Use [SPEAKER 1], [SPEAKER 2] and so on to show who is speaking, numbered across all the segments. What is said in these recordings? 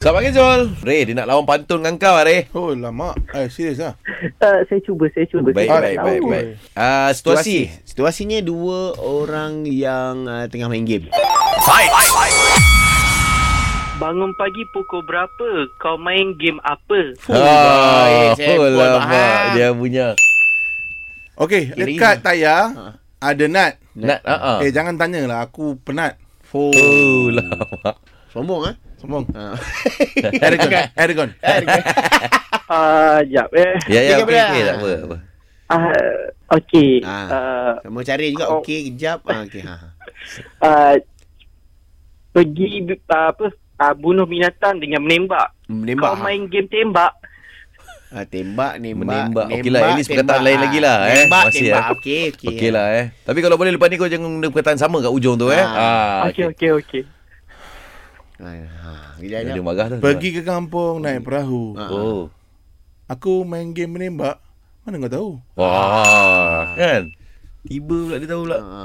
[SPEAKER 1] Selamat pagi Zul Ray dia nak lawan pantun dengan kau Ray
[SPEAKER 2] Oh lama Eh serius lah
[SPEAKER 3] Uh, saya cuba, saya cuba. saya
[SPEAKER 1] Baik baik
[SPEAKER 3] tak
[SPEAKER 1] baik
[SPEAKER 3] tahu.
[SPEAKER 1] baik Ah, Situasi
[SPEAKER 4] Situasi Situasinya dua orang yang uh, tengah main game
[SPEAKER 5] Bangun pagi pukul berapa? Kau main game apa?
[SPEAKER 1] Ah,
[SPEAKER 4] baik, saya
[SPEAKER 1] oh,
[SPEAKER 4] buat
[SPEAKER 1] lama
[SPEAKER 4] faham.
[SPEAKER 1] dia punya
[SPEAKER 2] Okay
[SPEAKER 4] Kiri.
[SPEAKER 2] Dekat tayar
[SPEAKER 4] Ha.
[SPEAKER 2] Ada Nat
[SPEAKER 1] Nak ah ah.
[SPEAKER 2] Eh jangan tanya lah Aku penat
[SPEAKER 4] Fuh.
[SPEAKER 1] Oh lama
[SPEAKER 4] Sombong ah.
[SPEAKER 2] Sombong Eh,
[SPEAKER 4] Ha.
[SPEAKER 2] Aragon
[SPEAKER 4] Eh,
[SPEAKER 2] Aragon
[SPEAKER 5] Ah, uh, jap eh.
[SPEAKER 1] Ya ya
[SPEAKER 4] Tiga
[SPEAKER 1] okey
[SPEAKER 4] belas.
[SPEAKER 1] okey tak apa apa.
[SPEAKER 5] Ah, okey.
[SPEAKER 4] Ah.
[SPEAKER 5] Ah,
[SPEAKER 4] Sama cari juga
[SPEAKER 5] Oh.
[SPEAKER 4] okey kejap. Ha okey ha.
[SPEAKER 5] ah, pergi ah, apa? Ah, bunuh binatang dengan menembak. ha?
[SPEAKER 4] Menembak.
[SPEAKER 5] Kau main game tembak.
[SPEAKER 4] Ha, tembak, nembak,
[SPEAKER 1] Menembak. Okey lah, at least perkataan
[SPEAKER 4] tembak,
[SPEAKER 1] lain lagi lah, eh.
[SPEAKER 4] Nembak,
[SPEAKER 1] Masih,
[SPEAKER 4] tembak.
[SPEAKER 1] eh.
[SPEAKER 4] Okey, okey.
[SPEAKER 1] Okey lah eh. Tapi kalau boleh lepas ni kau jangan guna perkataan sama kat ujung tu eh.
[SPEAKER 4] ya. Ah.
[SPEAKER 1] Ah
[SPEAKER 5] Okey okey okey.
[SPEAKER 4] Ha, ha.
[SPEAKER 1] Dia
[SPEAKER 4] Bila
[SPEAKER 1] dia marah dah.
[SPEAKER 2] Pergi ke kampung Naik perahu
[SPEAKER 4] Ha.
[SPEAKER 1] Oh.
[SPEAKER 2] Aku main game menembak Mana kau tahu
[SPEAKER 1] Wah, kan. Tiba pula dia tahu pula.
[SPEAKER 4] Ha.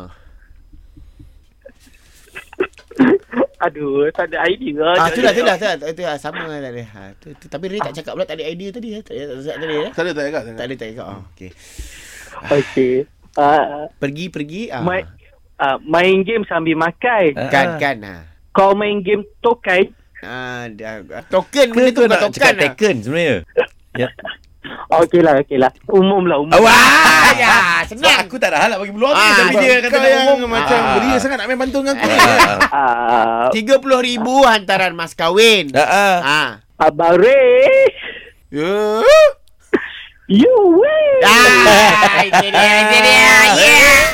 [SPEAKER 5] Aduh, tak ada idea.
[SPEAKER 4] Ah,
[SPEAKER 5] Jap,
[SPEAKER 4] tu lah,
[SPEAKER 5] jap,
[SPEAKER 4] tu lah,
[SPEAKER 5] jap.
[SPEAKER 4] tu lah. Tu lah, sama lah tadi. Ha, tu, tu. Tapi Ray tak cakap pula, tak ada idea tadi. eh. Tak ada, tak ada, tadi, eh.
[SPEAKER 2] Tak ada tak ada
[SPEAKER 4] Tak ada, tak ada. Oh, okey.
[SPEAKER 5] Okey. Ah,
[SPEAKER 4] Pergi, pergi. Ha.
[SPEAKER 5] main ah, main game sambil makan.
[SPEAKER 1] Ah,
[SPEAKER 4] Kan,
[SPEAKER 1] ah.
[SPEAKER 4] kan. Ha.
[SPEAKER 5] Kau main game tokai.
[SPEAKER 4] Ah, dah, token benda tu
[SPEAKER 1] Kau
[SPEAKER 4] bukan
[SPEAKER 1] nak
[SPEAKER 4] token
[SPEAKER 1] cakap
[SPEAKER 4] lah.
[SPEAKER 1] Tekken sebenarnya.
[SPEAKER 5] Okeylah, okeylah. Umum lah, umum.
[SPEAKER 4] Wah, ya,
[SPEAKER 1] Sebab
[SPEAKER 4] senang.
[SPEAKER 1] aku tak ada hal nak bagi peluang
[SPEAKER 4] Ah,
[SPEAKER 1] ah, tapi
[SPEAKER 2] Sebab
[SPEAKER 1] dia kata
[SPEAKER 2] kau yang
[SPEAKER 1] ngomong.
[SPEAKER 2] macam
[SPEAKER 1] Ah.
[SPEAKER 2] beria sangat nak main pantun dengan aku
[SPEAKER 1] Ah.
[SPEAKER 5] Ah,
[SPEAKER 4] RM30,000 hantaran mas kahwin.
[SPEAKER 1] Ah, ah.
[SPEAKER 4] Ah.
[SPEAKER 5] Abang Ray.
[SPEAKER 2] Ya
[SPEAKER 5] You win.
[SPEAKER 4] Ah, itu dia, itu dia. Yeah.